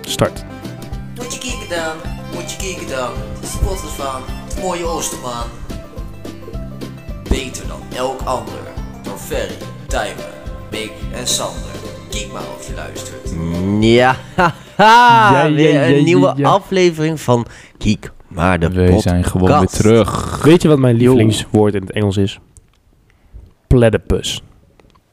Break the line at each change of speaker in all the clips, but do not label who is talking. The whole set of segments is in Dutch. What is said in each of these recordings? Start.
Moet je kijken dan, moet je kijken dan. De spotters van het mooie Oosterman. Beter dan elk ander. Door Ferry, Tijmen, Mick en Sander. Kijk maar of je luistert.
Ja, haha,
Ja, ja,
weer
ja,
een
ja,
nieuwe
ja.
aflevering van Kiek maar de
We
podcast.
zijn gewoon weer terug.
Weet je wat mijn lievelingswoord in het Engels is? Platypus.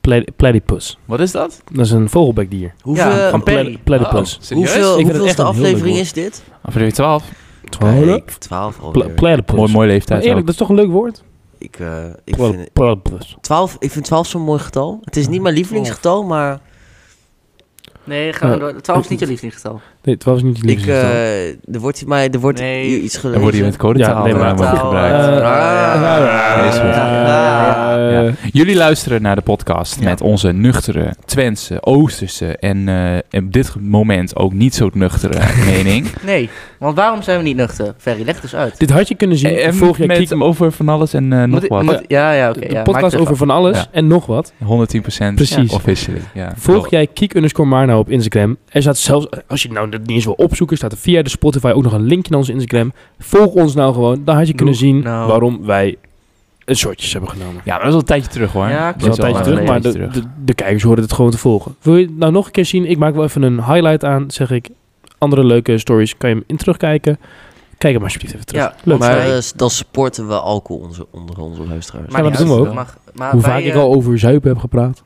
Pla- platypus.
Wat is dat?
Dat is een vogelbekdier.
Hoeveel, Ja,
Van pla-
Perry,
platypus.
Oh, serieus?
hoeveel,
Ik vind het echt
hoeveelste
een heel leuk
aflevering
woord.
is dit?
Aflevering 12.
Twaalf?
Kijk, 12
Pla-
alweer.
platypus.
Mooi, mooi
Maar
leeftijd.
eerlijk, dat is toch een leuk woord?
ik, eh, ik,
Pla-
vind,
Platypus.
12, ik vind 12 zo'n mooi getal. Het is niet mijn lievelingsgetal, maar
Nee, ga maar
Eh,
door. 12 is niet je lievelingsgetal.
Nee, het was niet je
ik,
lievelingsgetal.
eh, er wordt hier mij, er wordt
Nee.
hier iets
Dan worden je
gelezen.
met codetaal
Ja, nee, maar-
eh, wordt
Taal,
gebruikt.
eh,
Ah,
is goed.
Eh,
Ja. Jullie luisteren naar de podcast met onze nuchtere, Twentse, Oosterse en eh, op dit moment ook niet zo nuchtere mening.
Nee, want waarom zijn we niet nuchter? Ferry, leg het dus uit.
Dit had je kunnen zien
En
vorig jaar
Eh, met
Kiek-
over van alles en eh, nog
Moet-
wat.
moet- ja, ja, oké.
de
ja, maak het
podcast
ervan.
over van alles
Ja.
en nog wat.
110%
Precies.
officially. Ja.
Volg jij Kiek underscore Marna op Instagram. Er staat zelfs, als je nou dat niet eens wil opzoeken, staat er via de Spotify ook nog een linkje naar onze Instagram. Volg ons nou gewoon. Dan had je kunnen zien
nou.
waarom wij een shortjes hebben genomen.
Ja, maar dat is al een tijdje terug hoor.
Ja,
Dat
Dat is al een tijdje terug,
lang
maar de,
geleden.
de- de kijkers horen het gewoon te volgen. Wil je het nou nog een keer zien? Ik maak wel even een highlight aan, zeg ik. Andere leuke stories, kan je hem in terugkijken. Kijk hem alsjeblieft even terug.
Ja,
Leuk.
Maar
Nee.
eh, dan supporten we alcohol onze, onder onze luisteraars.
Ja, maar
niet
dat doen we
uit.
ook.
Mag- maar
Hoe
wij,
vaak ik
eh,
al over zuipen heb gepraat.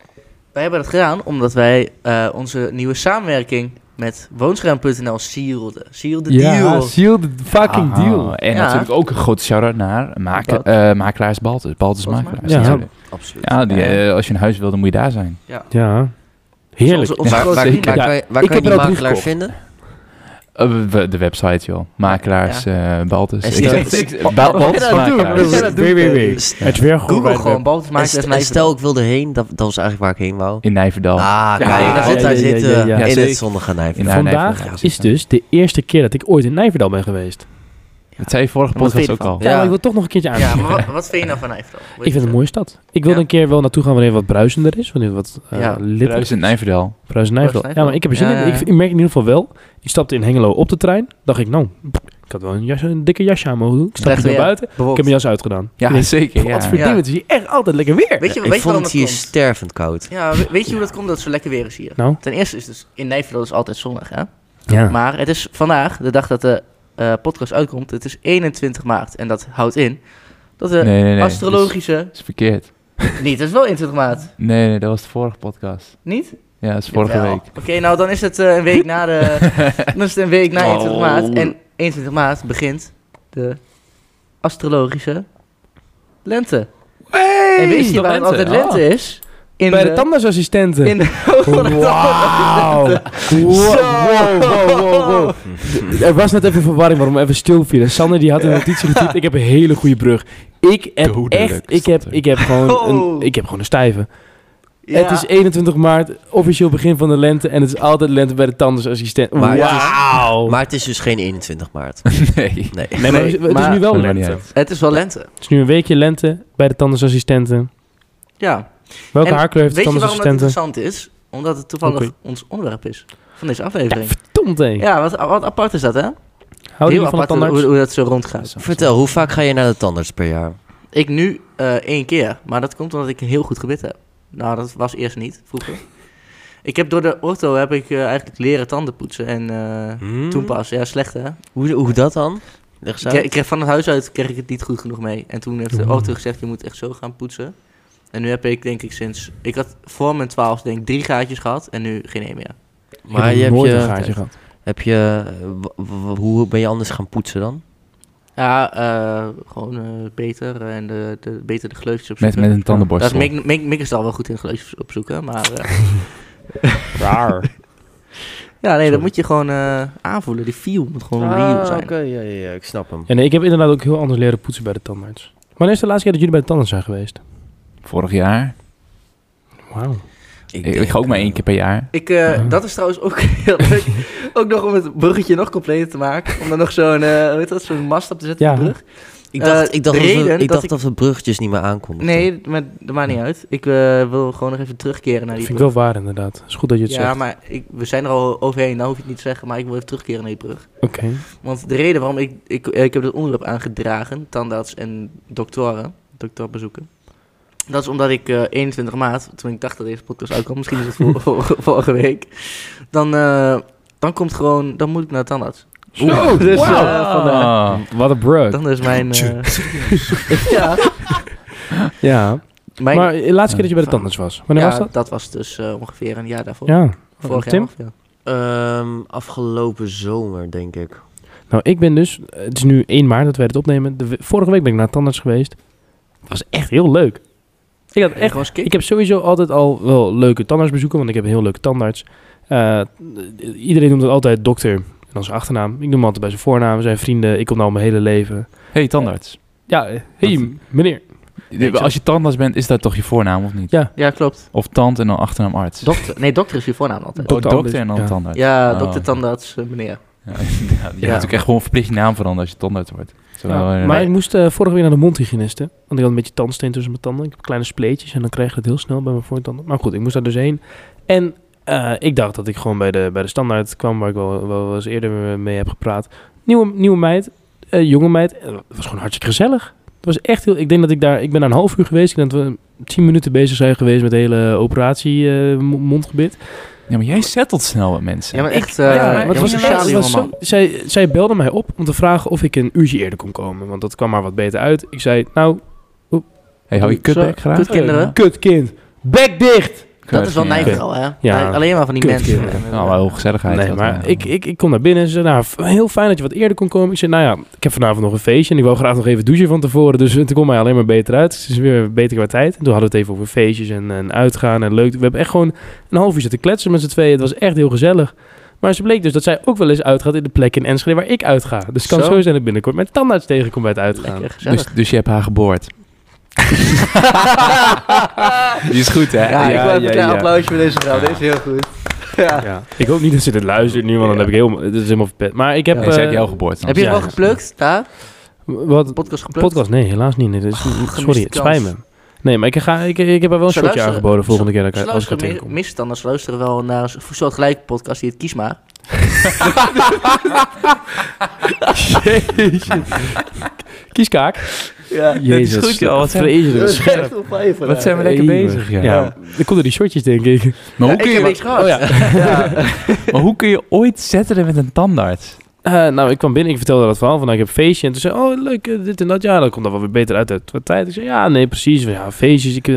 Wij hebben dat gedaan omdat wij eh, onze nieuwe samenwerking met woonscherm.nl sierde. Sierde deal.
seal the fucking
Ah,
deal.
En
Ja.
natuurlijk ook een grote shout-out naar maken,
Wat?
eh, makelaars Baltus. Baltus
Baltus
makelaars.
Ja.
natuurlijk.
Absoluut.
Ja, die, eh, als je een huis wil, dan moet je daar zijn.
Ja, heerlijk.
Onze- onze
Waar,
grote
waar,
vrienden.
waar
Ja,
kan je, waar
ik
kan je
heb
die
er ook drie
makelaar
gekocht.
vinden?
Eh, we- we- de website, joh. Makelaars eh, Baltus.
En
Ik
stel-
zeg- ik-
Oh,
Ba- Baltus makelaars.
www. Het weer
Google gewoon, Baltus
En,
maakt
st-
het
en stel ik wilde heen, dat, dat was eigenlijk waar ik heen wou.
In Nijverdal.
Ah, kijk,
ja, ja,
altijd
ja, ja,
zitten
ja, ja.
we
Ja,
in
zeker.
het zonnige Nijverland.
In haar Nijverdal.
Vandaag is dus de eerste keer dat ik ooit in Nijverdal ben geweest.
Dat zei je vorige
Wat vind
podcast
je
ook
ervan?
al.
Ja, maar ik wil toch nog een keertje aan.
Ja, maar wat, wat vind je nou van Nijverdal?
Ik vind het een mooie stad. Ik wil
Ja.
een keer wel naartoe gaan wanneer het wat bruisender is. Wanneer het wat eh
Ja,
litter
Ruis in Nijverdal.
Bruis Nijverdal.
Bruis Nijverdal.
Ja, maar ik heb er zin
Ja,
in.
ja.
Ik, ik merk in ieder geval wel. Ik stapte in Hengelo op de trein. Dacht ik, nou, ik had wel een, jas, een dikke jasje aan mogen doen. Ik stapte
Slecht
naar
weer.
buiten. Ik heb mijn jas uitgedaan. Ik
Ja,
denk,
zeker.
Wat
Ja.
voor
Ja.
ding, het is hier echt altijd lekker weer.
Weet
Ik
je, weet je
vond
waarom
het
dat
hier
komt?
stervend koud.
Ja, we- weet je hoe dat komt dat het zo lekker weer is hier?
Nou?
Ten eerste is dus in Nijverdal is altijd zonnig, hè?
Ja.
Maar het is vandaag, de dag dat de eh, podcast uitkomt, het is 21 maart. En dat houdt in dat de
Nee, nee, nee.
astrologische...
Dat is verkeerd.
Niet, dat is wel 21 maart.
Nee, nee, dat was de vorige podcast.
Niet?
Ja, dat is vorige
Jawel.
week.
Oké, nou dan is het eh, een week na de... dan is het een week na 21
Oh.
maart. En 21 maart begint de astrologische lente. en weet je
Nog
waar het altijd
lente? Ah.
lente is? In
Bij de tandartsassistenten.
In Oh,
Wauw. Wow. Wow, wow, wow, wow. D- Er was net even verwarring waarom we even stil vielen. Sander die had een notitie getypt. Ik heb een hele goede brug. Ik heb
Dodelijk
echt, ik
stond
heb,
er.
ik heb gewoon een,
Oh.
ik heb gewoon een stijve.
Ja.
Het
e-
is 21 maart, officieel begin van de lente. En het is altijd lente bij de tandartsassistent.
Maar-
Wauw.
Oh.
Maar het is dus geen 21 maart.
Nee.
Nee.
Nee, maar
Nee,
het is- het is
maar-
nu wel
Maakt
lente.
niet
Het
Het is wel lente.
is nu een weekje lente bij de tandartsassistenten.
Ja.
Welke
En
haarkleur heeft de
Weet je waarom dat
tandartsassistenten?
interessant is? Omdat het toevallig
Oké.
ons onderwerp is van deze
Ja,
aflevering.
verdomd hé.
Ja, wat, wat apart is dat, hè?
Houden
Heel
jullie van de
apart hoe,
tandarts?
hoe dat zo rondgaat.
Vertel, hoe vaak ga je naar de tandarts per jaar?
Ik nu eh, één keer, maar dat komt omdat ik een heel goed gebit heb. Nou, dat was eerst niet, vroeger. Ik heb door de ortho heb ik eh, eigenlijk leren tanden poetsen en eh,
Hmm.
toen pas. Ja, slecht hè.
Hoe, hoe dat dan? Leg eens
Ik, kreeg-
uit.
ik kreeg van het huis uit kreeg ik het niet goed genoeg mee. En toen heeft de
Hmm.
ortho gezegd, je moet echt zo gaan poetsen. En nu heb ik denk ik sinds, ik had voor mijn twaalf denk ik drie gaatjes gehad en nu geen één meer.
Maar je
hebt
hebt
nooit een
je,
gaatje gehad.
heb je, eh, w- w- hoe ben je anders gaan poetsen dan?
Ja, eh, gewoon eh, beter en de, de, beter de gleufjes
Met,
opzoeken.
met een tandenborstel.
dat Mick, Mick, Mick is er al wel goed in gleufjes opzoeken, maar... eh,
Raar.
Ja, nee,
Sorry.
dat moet je gewoon eh, aanvoelen. Die feel moet gewoon
Ah,
real zijn.
ja, ja, ik snap hem.
Ja, nee, ik heb inderdaad ook heel anders leren poetsen bij de tandarts. Wanneer is de laatste keer dat jullie bij de tandarts zijn geweest?
Vorig jaar.
Wauw.
Ik, ik ga ook maar één keer per jaar.
Ik, eh,
Ah.
Dat is trouwens ook heel leuk. ook nog om het bruggetje nog completer te maken. Om er nog zo'n, eh, hoe heet dat, zo'n mast op te zetten op
Ja.
de brug.
Ik dacht,
Eh,
ik dacht,
de
dat, we,
reden
ik
dat
dacht
ik-
dat we bruggetjes niet meer aankonden.
Nee, maar dat maakt niet uit. Ik eh, wil gewoon nog even terugkeren naar
Dat
die
vind ik wel waar inderdaad. is goed dat je het
Ja,
zegt.
maar ik, we zijn er al overheen, nou hoef je het niet te zeggen, maar ik wil even terugkeren naar die brug.
Oké.
Want de reden waarom ik, ik, eh, ik heb dit onderwerp aangedragen, tandarts en doktoren, dokterbezoeken, dat is omdat ik eh, 21 maart, toen ik dacht dat deze podcast uitkwam, misschien is het vor- vor- vorige week, dan, eh, dan komt gewoon, dan moet ik naar de tandarts.
Zo,
dus, eh,
wauw.
vandaar.
Ah.
Wat een brug.
Dan is mijn... eh, ja,
Ja.
mijn
maar de laatste keer dat je bij de tandarts was. Wanneer
ja,
was dat?
was dus eh, ongeveer een jaar daarvoor.
Ja.
Vorig jaar
Tim?
ongeveer.
Ehm, afgelopen zomer, denk ik.
Nou, ik ben dus... Het is nu 1 maart dat wij dit opnemen. De, we- vorige week ben ik naar de tandarts geweest. Het was echt heel leuk. Ik had echt...
was kick.
Ik heb sowieso altijd al wel leuke tandartsbezoeken, want ik heb een heel leuke tandarts. Eh, iedereen noemt het altijd dokter en dan zijn achternaam. Ik noem hem altijd bij zijn voornaam, we zijn vrienden. Ik kom nou al mijn hele leven.
hey, tandarts.
Ja, eh, hey,
Wat?
meneer.
Je- Als je tandarts bent, is dat toch je voornaam of niet?
Ja.
Ja, klopt.
Of tant en dan achternaam arts.
Dokter, nee, dokter is je voornaam altijd.
Oh,
Dokter
dokter en
Anders.
dan
Ja.
tandarts.
Ja,
Oh.
dokter tandarts, eh, meneer.
Ja, je hebt natuurlijk echt gewoon verplicht je naam veranderen als je tandarts wordt. Zo,
Ja,
eh,
maar ik moest eh, vorige week naar de mondhygiëniste, want ik had een beetje tandsteen tussen mijn tanden. Ik heb kleine spleetjes en dan krijg je het heel snel bij mijn voortanden. Maar goed, ik moest daar dus heen. En eh, ik dacht dat ik gewoon bij de, bij de standaard kwam, waar ik wel, wel, wel eens eerder mee heb gepraat. Nieuwe, nieuwe meid, eh, jonge meid. Eh, Het was gewoon hartstikke gezellig. Het was echt heel... Ik denk dat ik daar... Ik ben daar een half uur geweest. Ik denk dat we tien minuten bezig zijn geweest met de hele operatie eh, mo- mondgebit.
ja, maar jij settelt snel met mensen.
Ja, maar echt,
Ja,
eh
maar het
ja,
was-
sociale
het was zo-
jongeman.
zij, zij belde mij op om te vragen of ik een uurtje eerder kon komen. Want dat kwam maar wat beter uit. Ik zei, nou,
hey, hou je
Zo,
kutbek graag?
kut kinderen.
Ja.
kut kind, bek dicht!
Dat is wel
Ja.
nijverig al, hè?
Ja.
Nee, Alleen maar van die
Kut.
mensen.
Nou, wel gezelligheid.
Nee,
dat,
maar
eh,
ik, ik, ik kom naar binnen en ze zei, nou, f- heel fijn dat je wat eerder kon komen. Ik zei, nou ja, ik heb vanavond nog een feestje en ik wil graag nog even douchen van tevoren. Dus het komt mij alleen maar beter uit. Het is weer beter qua tijd. En toen hadden we het even over feestjes en, en uitgaan en leuk. We hebben echt gewoon een half uur zitten kletsen met z'n tweeën. Het was echt heel gezellig. Maar ze bleek dus dat zij ook wel eens uitgaat in de plek in Enschede waar ik uitga. Dus het kan
Zo.
zo zijn dat ik binnenkort mijn tandarts tegenkom bij het uitgaan.
Lekker
dus,
gezellig.
dus je hebt haar geboord. Die is goed, hè?
ja, ik wil even een klein applausje voor deze vrouw. Dit is heel goed. Ja.
Ja. Ik hoop niet dat ze dit luistert nu, want dan heb ik helemaal... Het is helemaal verpet. Maar ik heb...
Nee, ze
eh,
heeft jou geboord. dan.
Heb je
Ja.
hem wel geplukt daar?
wat,
Podcast geplukt?
Podcast? Nee, helaas niet. Nee, dit is- sorry, het
Oh, kans.
spijt me. Nee, maar ik, ga, ik, ik heb haar wel een
Ze
shotje
luisteren-
aangeboden volgende keer dat
Ze
ik, als ik er
luisteren
tegenkom.
mi- misstanders luisteren wel naar een soort gelijke podcast die het Kies Maar.
Kieskaak.
Ja,
Jezus,
Wat zijn,
vreselijk scherp.
wat
Eh,
zijn we lekker
Eeuwig.
bezig, ja.
Ja, dan komen die shotjes, denk ik.
Maar, hoe
ik
kun je,
heb niks gehad.
Oh ja.
maar hoe kun je ooit settelen met een tandarts?
Eh, nou, ik kwam binnen, ik vertelde dat verhaal van nou, ik heb een feestje. En toen zei oh leuk, eh, dit en dat. Ja, dan komt dat wel weer beter uit uit de tijd. Ik zei, ja, nee, precies. Ja, feestjes. Ik, eh,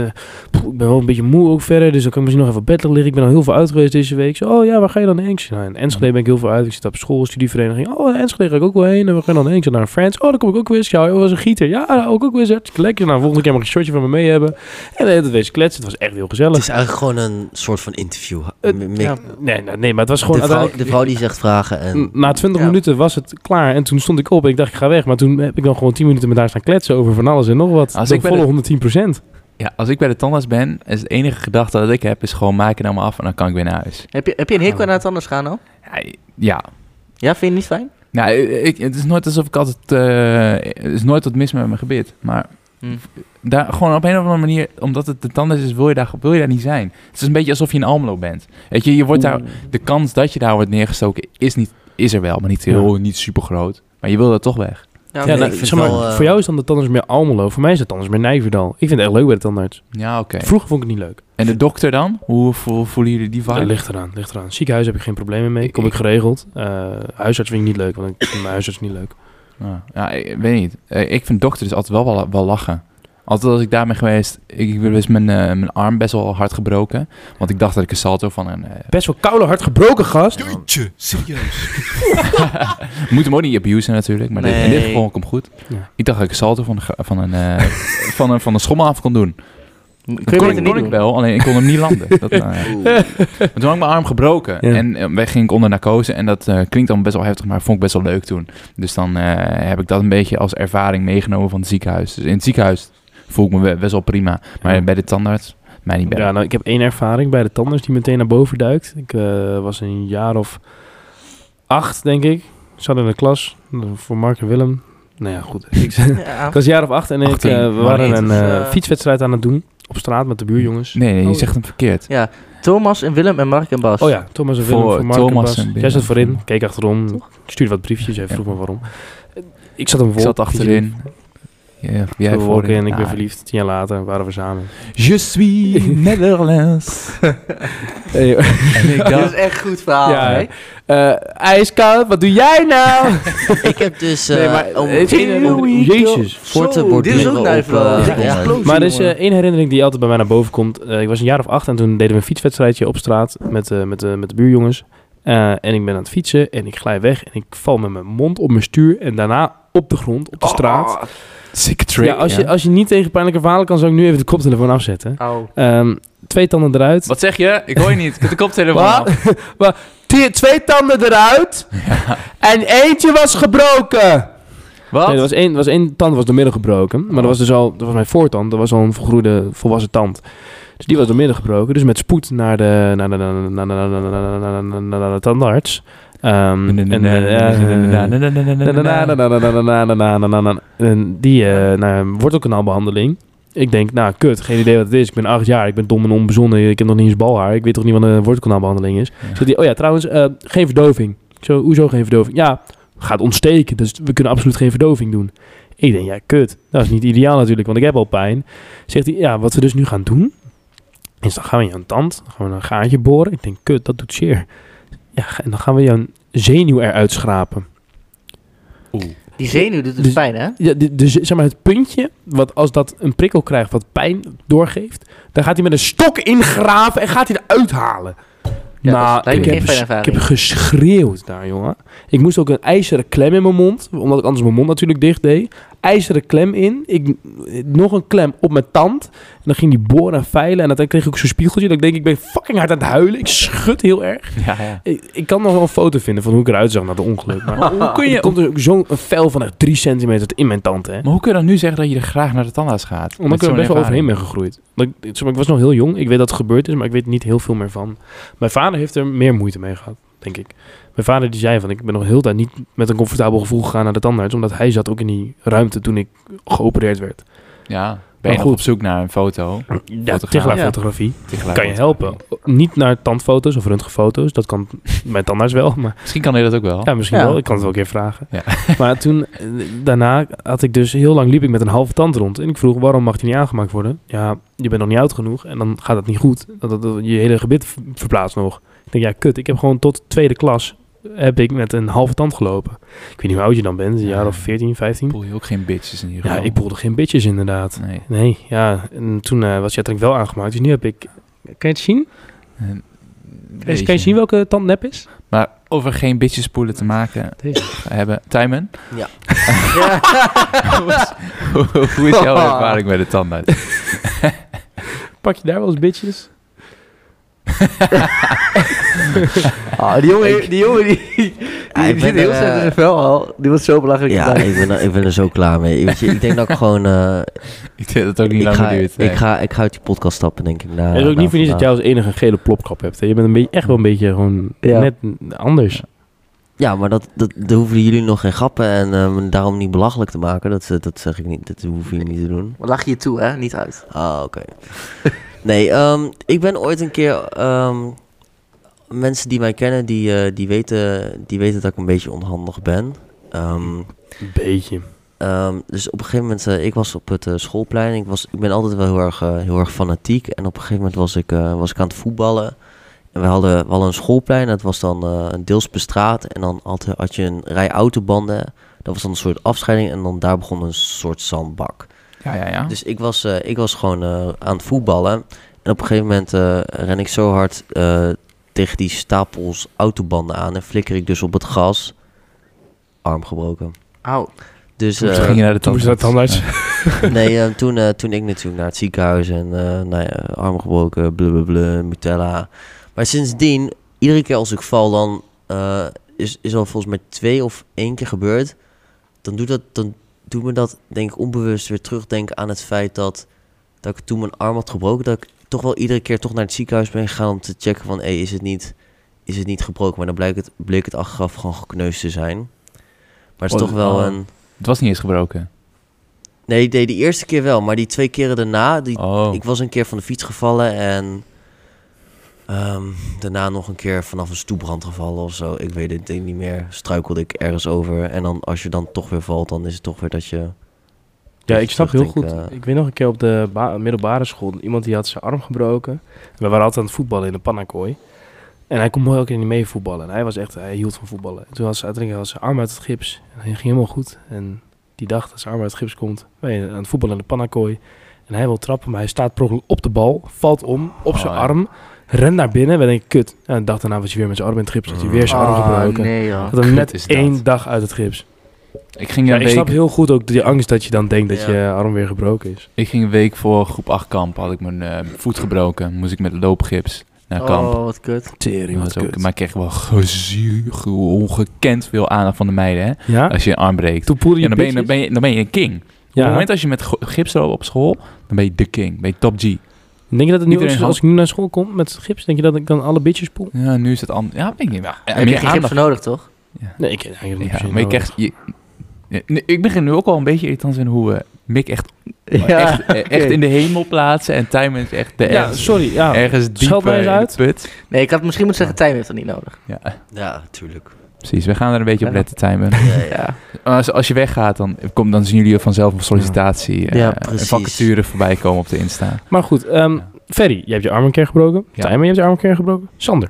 poeh, ik ben wel een beetje moe ook verder, dus dan kan ik misschien nog even op bed liggen. Ik ben al heel veel uit geweest deze week. Ik zei, oh ja, waar ga je dan heen? Ik zei, nou, in Enschede ben ik heel veel uit. Ik zit op school, studievereniging. Oh, in Enschede ga ik ook wel heen. En we gaan dan heen. Ik zei, naar Friends. Oh, daar kom ik ook weer eens. Ik zei, oh, was een gieter. Ja, daar hou ik ook weer eens. Hartstikke lekker. Nou, volgende keer mag ik een shotje van me mee hebben. En eh, dat wees kletsen. Het was echt heel
Het
gezellig.
is eigenlijk gewoon een soort van interview.
Het-
M-
Ja.
Nee, nou, nee, nee, maar het was gewoon...
de, vrouw,
uiteindelijk-
de vrouw die zegt vragen en...
Na 20
Ja.
minuten was het klaar en toen stond ik op en ik dacht ik ga weg. Maar toen heb ik dan gewoon 10 minuten met haar staan kletsen over van alles en nog wat.
Als
Als ik
ik bij
volle
de-
110
Ja, als ik bij de tandarts ben, is het enige gedachte dat ik heb, is gewoon maak het nou maar af en dan kan ik weer naar huis.
Heb, je, heb je een hekel aan het anders gaan al?
Ja, Ja,
Ja, vind je het niet fijn?
Nou, ik, het is nooit alsof ik altijd... eh, er is nooit wat mis met mijn gebit. Maar
Hm.
daar, gewoon op een of andere manier, omdat het de tandarts is, wil je, daar, wil je daar niet zijn. Het is een beetje alsof je in Almelo bent. Weet je, je wordt daar, de kans dat je daar wordt neergestoken is, niet, is er wel, maar niet, heel, Oh, niet super groot. Maar je wil daar toch weg.
Ja,
Ja,
nee.
nou,
ik vind
zeg maar,
wel, eh,
Voor jou is dan de tandarts meer Almelo, voor mij is het tandarts meer Nijverdal. Ik vind het echt leuk bij de tandarts.
Ja, oké.
Vroeger vond ik het niet leuk.
En de dokter dan? Hoe vo- voelen jullie die vibe?
Dat ligt eraan, ligt eraan. Ziekenhuis heb ik geen problemen mee, kom ik geregeld. Eh, huisarts vind ik niet leuk, want ik vind mijn huisarts niet leuk.
Ja, Ah. ja, ik weet niet. Eh, Ik vind dokter dus altijd wel, wel, wel lachen. Altijd als ik daar ben geweest, ik heb dus mijn, eh, mijn arm best wel hard gebroken. Want ik dacht dat ik een salto van een... eh,
Best wel koude hard gebroken gast.
Jeetje, serieus.
moet hem ook niet abusen natuurlijk, maar dit- in dit
Nee.
geval komt goed.
Ja.
Ik dacht dat ik een salto van, een ge- van, een, eh, van, een, van een schommel af kon doen.
Kun je
kon
het
ik,
niet
kon ik
doen?
wel, alleen ik kon hem niet landen. Dat, eh, maar toen had ik mijn arm gebroken
Ja.
en eh, weg ging ik onder narcose. En dat eh, klinkt dan best wel heftig, maar vond ik best wel leuk toen. Dus dan eh, heb ik dat een beetje als ervaring meegenomen van het ziekenhuis. Dus in het ziekenhuis voel ik me we- best wel prima. Maar
Ja.
bij de tandarts, mij niet
Ja,
bij.
nou, ik heb één ervaring bij de tandarts die meteen naar boven duikt. Ik eh, was een jaar of acht, denk ik. Ik zat in de klas eh, voor Mark en Willem. Nou ja, goed. Ik,
Ja.
Ik was een jaar of acht en ik,
Achttien.
eh, we
Maar
waren
niet,
een
dus,
eh,
eh,
fietswedstrijd aan het doen. Op straat met de buurjongens.
Nee, nee, je
Oh.
zegt hem verkeerd.
ja, Thomas en Willem en Mark en Bas.
Oh ja, Thomas en Willem
Voor
voor, Mark en
Thomas
Bas.
en Willem.
Jij zat voorin, keek achterom. Ik stuurde wat briefjes, hij vroeg me waarom. Ik zat hem voor.
Ik zat achterin. Ja, jij
Jij voor
voorin.
en ik ben
Ah.
verliefd. Tien jaar later waren we samen.
Je suis Nederlands. en ik
Dit is
dacht...
echt een goed
Ah,
verhaal,
Ja. Eh,
hè?
ijskoud, wat doe jij nou?
Ik heb dus... eh,
maar-
om-
Hey,
Jezus.
Voor te
Zo,
borduren
Dit is ook
op,
nijf wel.
eh,
Dikke
ja.
explosie,
Maar er is eh,
jongen.
één herinnering die altijd bij mij naar boven komt. Eh, ik was een jaar of acht en toen deden we een fietswedstrijdje op straat met, eh, met, de met de buurjongens. Eh, en ik ben aan het fietsen en ik glij weg en ik val met mijn mond op mijn stuur en daarna op de grond, op de straat.
Sick trick.
Oh, ja, als, Je, als je niet tegen pijnlijke verhalen kan, zou ik nu even de koptelefoon afzetten.
Au.
Ehm, twee tanden eruit.
Wat zeg je? Ik hoor je niet. Ik heb de koptelefoon
Wat?
af.
T- twee tanden eruit en eentje was gebroken.
Wat?
Nee, er was één, er was één tand was doormidden gebroken. Maar dat was dus al, dat was mijn voortand, dat was al een volgroeide volwassen tand. Dus die was doormidden gebroken. Dus met spoed naar de, naar de, naar de, naar de, naar de, naar de, naar de, naar de tandarts. Ehm, en, eh, en die eh naar een wortelkanaalbehandeling. Ik denk, nou kut, geen idee wat het is. Ik ben acht jaar, ik ben dom en onbezonnen. Ik heb nog niet eens balhaar. Ik weet toch niet wat een wortelkanaalbehandeling is.
Ja.
Zegt hij, oh ja, trouwens, eh, geen verdoving. Ik zo, hoezo geen verdoving? Ja, gaat ontsteken, dus we kunnen absoluut geen verdoving doen. Ik denk, ja kut, dat is niet ideaal natuurlijk, want ik heb al pijn. Zegt hij, ja, wat we dus nu gaan doen, is dan gaan we je een tand, dan gaan we een gaatje boren. Ik denk, kut, dat doet zeer. Ja, en dan gaan we jouw zenuw eruit schrapen.
Die zenuw doet het
Dus-
pijn, hè?
Ja, de, de- zeg maar het puntje, wat als dat een prikkel krijgt wat pijn doorgeeft, dan gaat hij met een stok ingraven en gaat hij eruit halen.
Ja,
nou,
dat lijkt
ik
me geen
heb,
fijne
ges- ik
ervaring.
heb geschreeuwd daar, jongen. Ik moest ook een ijzeren klem in mijn mond, omdat ik anders mijn mond natuurlijk dicht deed. IJzeren klem in, ik, nog een klem op mijn tand. En dan ging die boren en veilen. En dan kreeg ik ook zo'n spiegeltje. Dat ik denk, ik ben fucking hard aan het huilen. Ik schud heel erg.
Ja, ja.
Ik, ik kan nog wel een foto vinden van hoe ik eruit zag na de ongeluk. Maar
Hoe kun
er
je,
komt er ook zo'n een vel van echt 3 centimeter in mijn tand, hè?
maar hoe kun je dan nu zeggen dat je er graag naar de tandarts gaat?
Omdat
Met
ik er
zo'n
best wel overheen
ervaring.
ben gegroeid. Dat ik, zeg maar, ik was nog heel jong. Ik weet dat het gebeurd is, maar ik weet niet heel veel meer van. Mijn vader heeft er meer moeite mee gehad, denk ik. Mijn vader die zei van, ik ben nog heel tijd niet met een comfortabel gevoel gegaan naar de tandarts. Omdat hij zat ook in die ruimte toen ik geopereerd werd.
Ja. Ben je
Maar
nog
goed.
op zoek naar een foto?
Ja, tegelijk
Ja.
fotografie.
Tegelijk
Kan je helpen. Niet naar tandfoto's of röntgenfoto's. Dat kan mijn tandarts wel, maar...
Misschien kan hij dat ook wel.
Ja, misschien
Ja.
wel. Ik kan het wel een keer vragen.
Ja.
Maar toen, eh, daarna had ik dus heel lang liep ik met een halve tand rond. En ik vroeg, waarom mag die niet aangemaakt worden? Ja, je bent nog niet oud genoeg en dan gaat het niet goed. Dat, dat, dat- je hele gebit v- verplaatst nog. Ik denk, ja kut, ik heb gewoon tot tweede klas heb ik met een halve tand gelopen. Ik weet niet hoe oud je dan bent, een jaar of 14, 15.
Voel je ook geen bitches in ieder
Ja,
geval?
ik boelde geen bitches inderdaad.
Nee.
Nee, ja, en toen eh, was je uiteindelijk wel aangemaakt. Dus nu heb ik... Kan je het zien? Kan je, kan je zien welke tand nep is?
Maar over geen bitjespoelen te maken hebben. Tijmen?
Ja.
hoe, is, hoe- hoe is jouw ervaring met de tandarts?
Pak je daar wel eens bitches?
Ah, die jongen, die jongen, die, die,
Ah, ik
die
ben
zit heel
er,
sterk in
eh,
zijn vel al. Die was zo belachelijk.
Ja,
vandaag.
ik ben, er- ik ben er zo klaar mee. Weet je, ik denk dat ik gewoon... eh,
Ik denk dat het ook niet
ik,
lang
ga,
duurt.
ik, ga, ik ga uit die podcast stappen, denk ik. Na,
Eh,
Het is ook
na
niet voor niets dat
vandaag.
jij als enige een gele plopkap hebt. Hè? Je bent een beetje, echt wel een beetje gewoon
Ja.
net anders.
Ja, maar dat, dat, daar hoeven jullie nog geen grappen en ehm, daarom niet belachelijk te maken. Dat, eh, dat zeg ik niet. Dat hoeven jullie niet te doen.
Maar Lach je toe, hè? Niet uit.
Ah, oké. nee, ehm, ik ben ooit een keer... ehm, mensen die mij kennen, die, eh, die, weten, die weten dat ik een beetje onhandig ben. Ehm,
Een beetje.
Ehm, dus op een gegeven moment, eh, ik was op het eh, schoolplein. Ik, was, ik ben altijd wel heel erg, eh, heel erg fanatiek. En op een gegeven moment was ik, eh, was ik aan het voetballen. En we hadden, we hadden een schoolplein, dat was dan eh, deels bestraat. En dan had, had je een rij autobanden. Dat was dan een soort afscheiding. En dan daar begon een soort zandbak.
Ja, ja, ja.
Dus ik was, eh, ik was gewoon eh, aan het voetballen. En op een gegeven moment eh, ren ik zo hard eh, tegen die stapels autobanden aan. En flikker ik dus op het gas. Arm gebroken.
Au.
Dus
Toen
eh,
ging je naar de
Toen moest
tandarts.
je naar de tandarts.
Ja.
nee, eh, toen, eh, toen ik natuurlijk naar het ziekenhuis en eh nou ja, arm gebroken, blablabla, Nutella. Maar sindsdien, iedere keer als ik val, dan eh, is, is al volgens mij twee of één keer gebeurd. Dan doet, dat, dan doet me dat, denk ik, onbewust weer terugdenken aan het feit dat, dat ik toen mijn arm had gebroken. Dat ik toch wel iedere keer toch naar het ziekenhuis ben gegaan om te checken van, hé, is het niet... Is het niet gebroken, maar dan bleek het, bleek het achteraf gewoon gekneusd te zijn. Maar het is
Oh,
toch wel
oh.
een.
Het was niet eens gebroken.
Nee, ik deed de eerste keer wel, maar die twee keren daarna, die,
Oh.
ik was een keer van de fiets gevallen en ehm, daarna nog een keer vanaf een stoeprand gevallen of zo. Ik weet het niet meer. Struikelde ik ergens over en dan als je dan toch weer valt, dan is het toch weer dat je.
Ja,
Dat
ik
je
snap heel goed.
terugdenkt, eh.
Ik weet nog een keer op de ba- middelbare school. Iemand die had zijn arm gebroken. We waren altijd aan het voetballen in de pannakooi. En hij kon mooi elke keer niet mee voetballen. En hij was echt, hij hield van voetballen. En toen had ze uiteindelijk had ze zijn arm uit het gips. En hij ging helemaal goed. En die dag dat zijn arm uit het gips komt, wij aan het voetballen in de pannakooi. En hij wil trappen, maar hij staat per ongeluk op de bal, valt om, op
Oh,
zijn
ja.
arm, rent naar binnen. Wij denken, kut. En de dag daarna was hij weer met zijn arm in het gips, had hij weer zijn arm gebroken.
Ah, nee joh.
Had hem
Ah, Kut
net
is dat.
één dag uit het gips.
Ik ging,
Ja,
een
ik snap
week,
heel goed ook die angst dat je dan denkt dat
Ja.
je arm weer gebroken is.
ik ging een week voor groep 8 kamp. Had ik mijn eh, voet gebroken. Moest ik met loopgips naar kamp.
Oh, wat kut.
Tering,
Dat was ook, maar ik kreeg wel gezuur, ge- ongekend veel aandacht van de meiden. Hè?
Ja?
Als je je arm breekt.
Toen poelde je
Ja, dan, ben je, dan,
pitjes.
ben je, dan ben je een king. Op
Ja.
het moment als je met go- gips loopt op school, dan ben je de king. Ben je top G.
Denk je dat het nu,
Iedereen
ook zo-
had-
als ik nu naar school kom met gips, denk je dat ik dan alle bitches poel?
Ja, nu is het anders. Ja, ben je wel. Ja,
Heb je
meer
geen gips
aandacht.
voor nodig, toch?
Nee, ik heb eigenlijk
Ja, maar je krijgt... Je, Ja, nee, ik begin nu ook wel een beetje irritant te zijn hoe eh, Mick echt, echt, eh, echt in de hemel plaatsen en Tijmen is echt de
Ja,
ergens,
sorry. Ja.
ergens
Scheld mij
diep eh,
eens
in de
uit.
put.
Nee, ik had misschien moeten zeggen, Tijm heeft dat niet nodig.
Ja,
Ja, tuurlijk.
precies. We gaan er een beetje op
Ja.
letten, Tijmen.
Ja.
Als, als je weggaat, dan, komt, dan zien jullie vanzelf een sollicitatie eh,
Ja,
en
precies.
vacature voorbij komen op de Insta.
Maar goed, ehm,
Ja.
Ferry, je hebt je arm een keer gebroken.
Ja.
Tijmen, je hebt je arm een keer gebroken. Sander.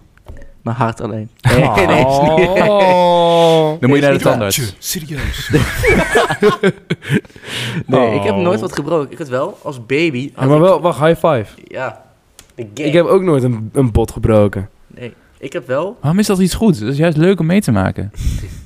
Mijn hart alleen.
Oh. Dan moet je naar de tandarts.
Nee,
Oh.
ik heb nooit wat gebroken. Ik had wel, als baby... had
maar
ik-
wel, wacht, high five.
Ja. De gang.
Ik heb ook nooit een, een bot gebroken.
Nee, ik heb wel...
Waarom is dat iets goeds? Dat is juist leuk om mee te maken.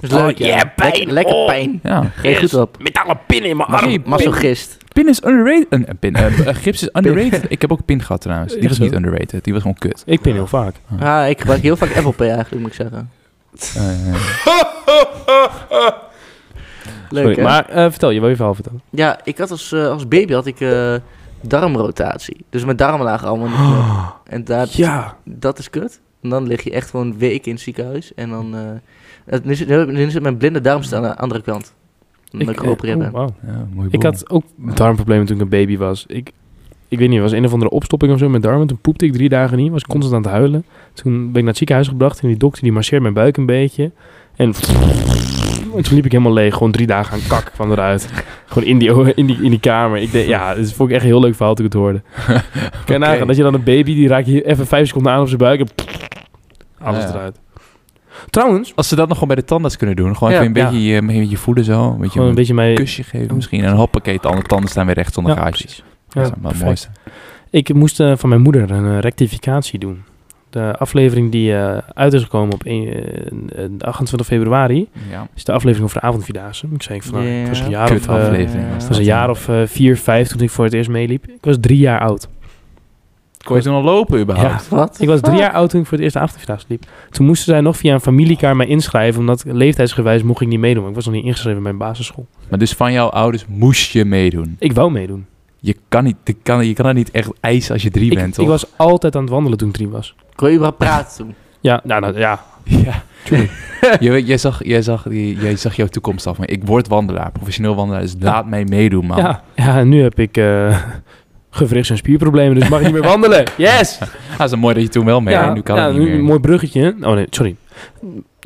Dus leuk,
ja,
pijn. Lekker, lekker
Oh.
pijn.
Ja.
Geen goed op.
Met alle pinnen in mijn
Mag je-
Masochist.
Pin is underrated. Een, een pin, eh, een gips is underrated. Ik heb ook een pin gehad trouwens. Die
Echt
was
zo?
niet underrated. Die was gewoon kut.
Ik pin heel vaak.
Ah, ik gebruik heel vaak Apple Pay eigenlijk, moet ik zeggen.
Eh,
Leuk,
Sorry,
hè?
maar eh, vertel, je wil je verhaal vertellen.
Ja, ik had als, eh, als baby had ik eh, darmrotatie. Dus mijn darmen lagen allemaal in de knoop. En daar,
Ja.
dat is kut. En dan lig je echt gewoon weken in het ziekenhuis. En dan... eh, het- nu, zit, nu zit mijn blinde darm aan de andere kant. Omdat ik,
eh,
geopereerd
oh,
ben.
wauw.
ja, mooi
Ik
boel.
had ook darmproblemen toen ik een baby was. Ik, ik weet niet, er was een of andere opstopping of zo met darmen. Toen poepte ik drie dagen niet, was constant aan het huilen. Toen ben ik naar het ziekenhuis gebracht en die dokter die masseerde mijn buik een beetje. En, en toen liep ik helemaal leeg, gewoon drie dagen aan kak kwam eruit. Gewoon in die, in die, in die kamer. Ik deed, ja, dus vond ik echt een heel leuk verhaal toen ik het hoorde. Kan je nagaan, dat je dan een baby, die raak je hier even vijf seconden aan op zijn buik en alles
Ja.
eruit. Trouwens,
Als ze dat nog gewoon bij de tandarts kunnen doen. Gewoon
Ja,
even een
ja.
beetje, je een beetje voelen zo. Een beetje
gewoon een
een,
beetje mij...
kusje geven misschien. En hoppakee, de andere tanden staan weer recht zonder
Ja,
gaatjes.
precies.
Dat is
Ja,
wel het
perfect.
mooiste.
Ik moest eh, van mijn moeder een eh, rectificatie doen. De aflevering die eh, uit is gekomen op één- eh, eh, 28 februari
Ja.
is de aflevering over de avondvierdaagse. Ik zei van, nou, ik was een
Ja.
jaar of,
Kut
eh,
aflevering.
ik was een jaar of eh, vier, vijf toen ik voor het eerst meeliep. Ik was drie jaar oud.
Kon je toen al lopen überhaupt?
Wat?
Ik was drie jaar oud toen ik voor het eerst de avondvierdaagse liep. Toen moesten zij nog via een familiekaart mij inschrijven, omdat leeftijdsgewijs mocht ik niet meedoen. Ik was nog niet ingeschreven in mijn basisschool.
Maar dus van jouw ouders moest je meedoen.
Ik wou meedoen.
Je kan, niet, je kan, je kan dat niet echt eisen als je drie
Ik,
bent,
ik
toch?
was altijd aan het wandelen toen ik drie was.
Ik wil überhaupt praten toen.
Ja, nou, nou ja.
Ja. Je weet, jij, zag, jij, zag, die- jij zag jouw toekomst af. Maar ik word wandelaar, professioneel wandelaar. Dus laat mij meedoen, man.
Ja, ja, en nu heb ik eh gewrichts- en spierproblemen, dus mag ik niet meer wandelen. Yes!
Ah, dat is mooi dat je toen wel mee. hè? nu kan
ja,
het niet meer.
een mooi bruggetje. Oh nee, sorry.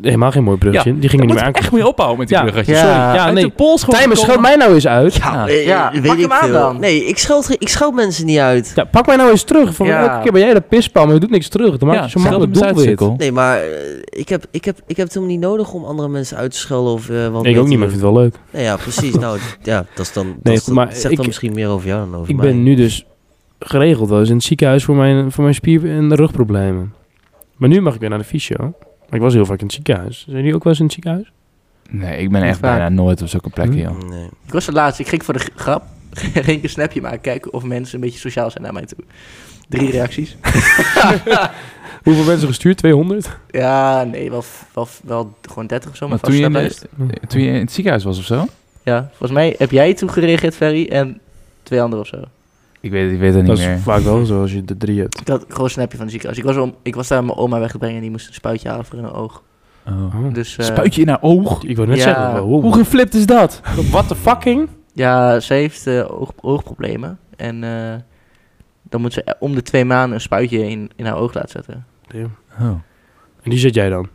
Helemaal geen mooi bruggetje. die
Daar
gingen niet
moet
meer
je
aankomen.
echt mee ophouden met die
Ja.
bruggetjes.
Ja.
Sorry.
Ja,
Uit
nee.
de pols gewoon
Tijmen, scheld
gekomen.
mij nou eens uit. Ja,
Ja.
Eh,
Ja,
eh,
pak hem aan dan.
Nee, ik scheld, ge- ik scheld mensen niet uit.
pak mij nou eens terug. Van,
Ja.
Elke keer ben jij dat pispaal, maar je doet niks terug. Dan maak je
Ja,
zo'n
scheld
makkelijk
hem eens
doelwit.
uit, sukkel.
Nee, maar eh, ik, heb, ik, heb, ik heb het helemaal niet nodig om andere mensen uit te schelden of eh, wat mee
Ik
te
ook niet, maar
doen.
ik vind het wel leuk.
Nee, ja, precies. nou, ja, dat is dan. dat
Nee,
is dan-
maar
zegt
ik-
dan misschien meer over jou dan over
Ik
mij.
ben nu dus geregeld wel eens in het ziekenhuis voor mijn, voor mijn spier- en rugproblemen. Maar nu mag ik weer naar de fysio. Maar ik was heel vaak in het ziekenhuis. Zijn jullie ook wel eens in het ziekenhuis?
Nee, ik ben echt
Vaak.
bijna nooit op zulke plekken, joh.
Hm?
Nee.
Ik was er laatst. Ik ging voor de g- grap. ging ik een snapje maken. Kijken of mensen een beetje sociaal zijn naar mij toe. Drie reacties.
Hoeveel mensen gestuurd? 200?
Ja, nee, wel, wel, wel gewoon 30 of zo.
Maar
Maar
toen
vast
je, in
wel
de-
eens.
Eh, toen je in het ziekenhuis was of zo?
Ja, volgens mij heb jij toen gereageerd, Ferry, en twee anderen of zo.
Ik weet, ik weet het
Dat
niet
is
meer.
vaak wel zo als je de drie hebt.
Dat gewoon een snapje van de ziekenhuis. Ik was, om, ik was daar mijn oma weg te brengen en die moest een spuitje halen voor in haar oog.
Oh.
Dus, eh,
Spuit je in haar oog?
Ik wou net
Ja.
zeggen, wow,
Hoe geflipt is dat?
oh. what the fucking?
Ja, ze heeft eh, oog- oogproblemen. En eh, dan moet ze om de twee maanden een spuitje in, in haar oog laten zetten.
Oh.
En die zet jij dan?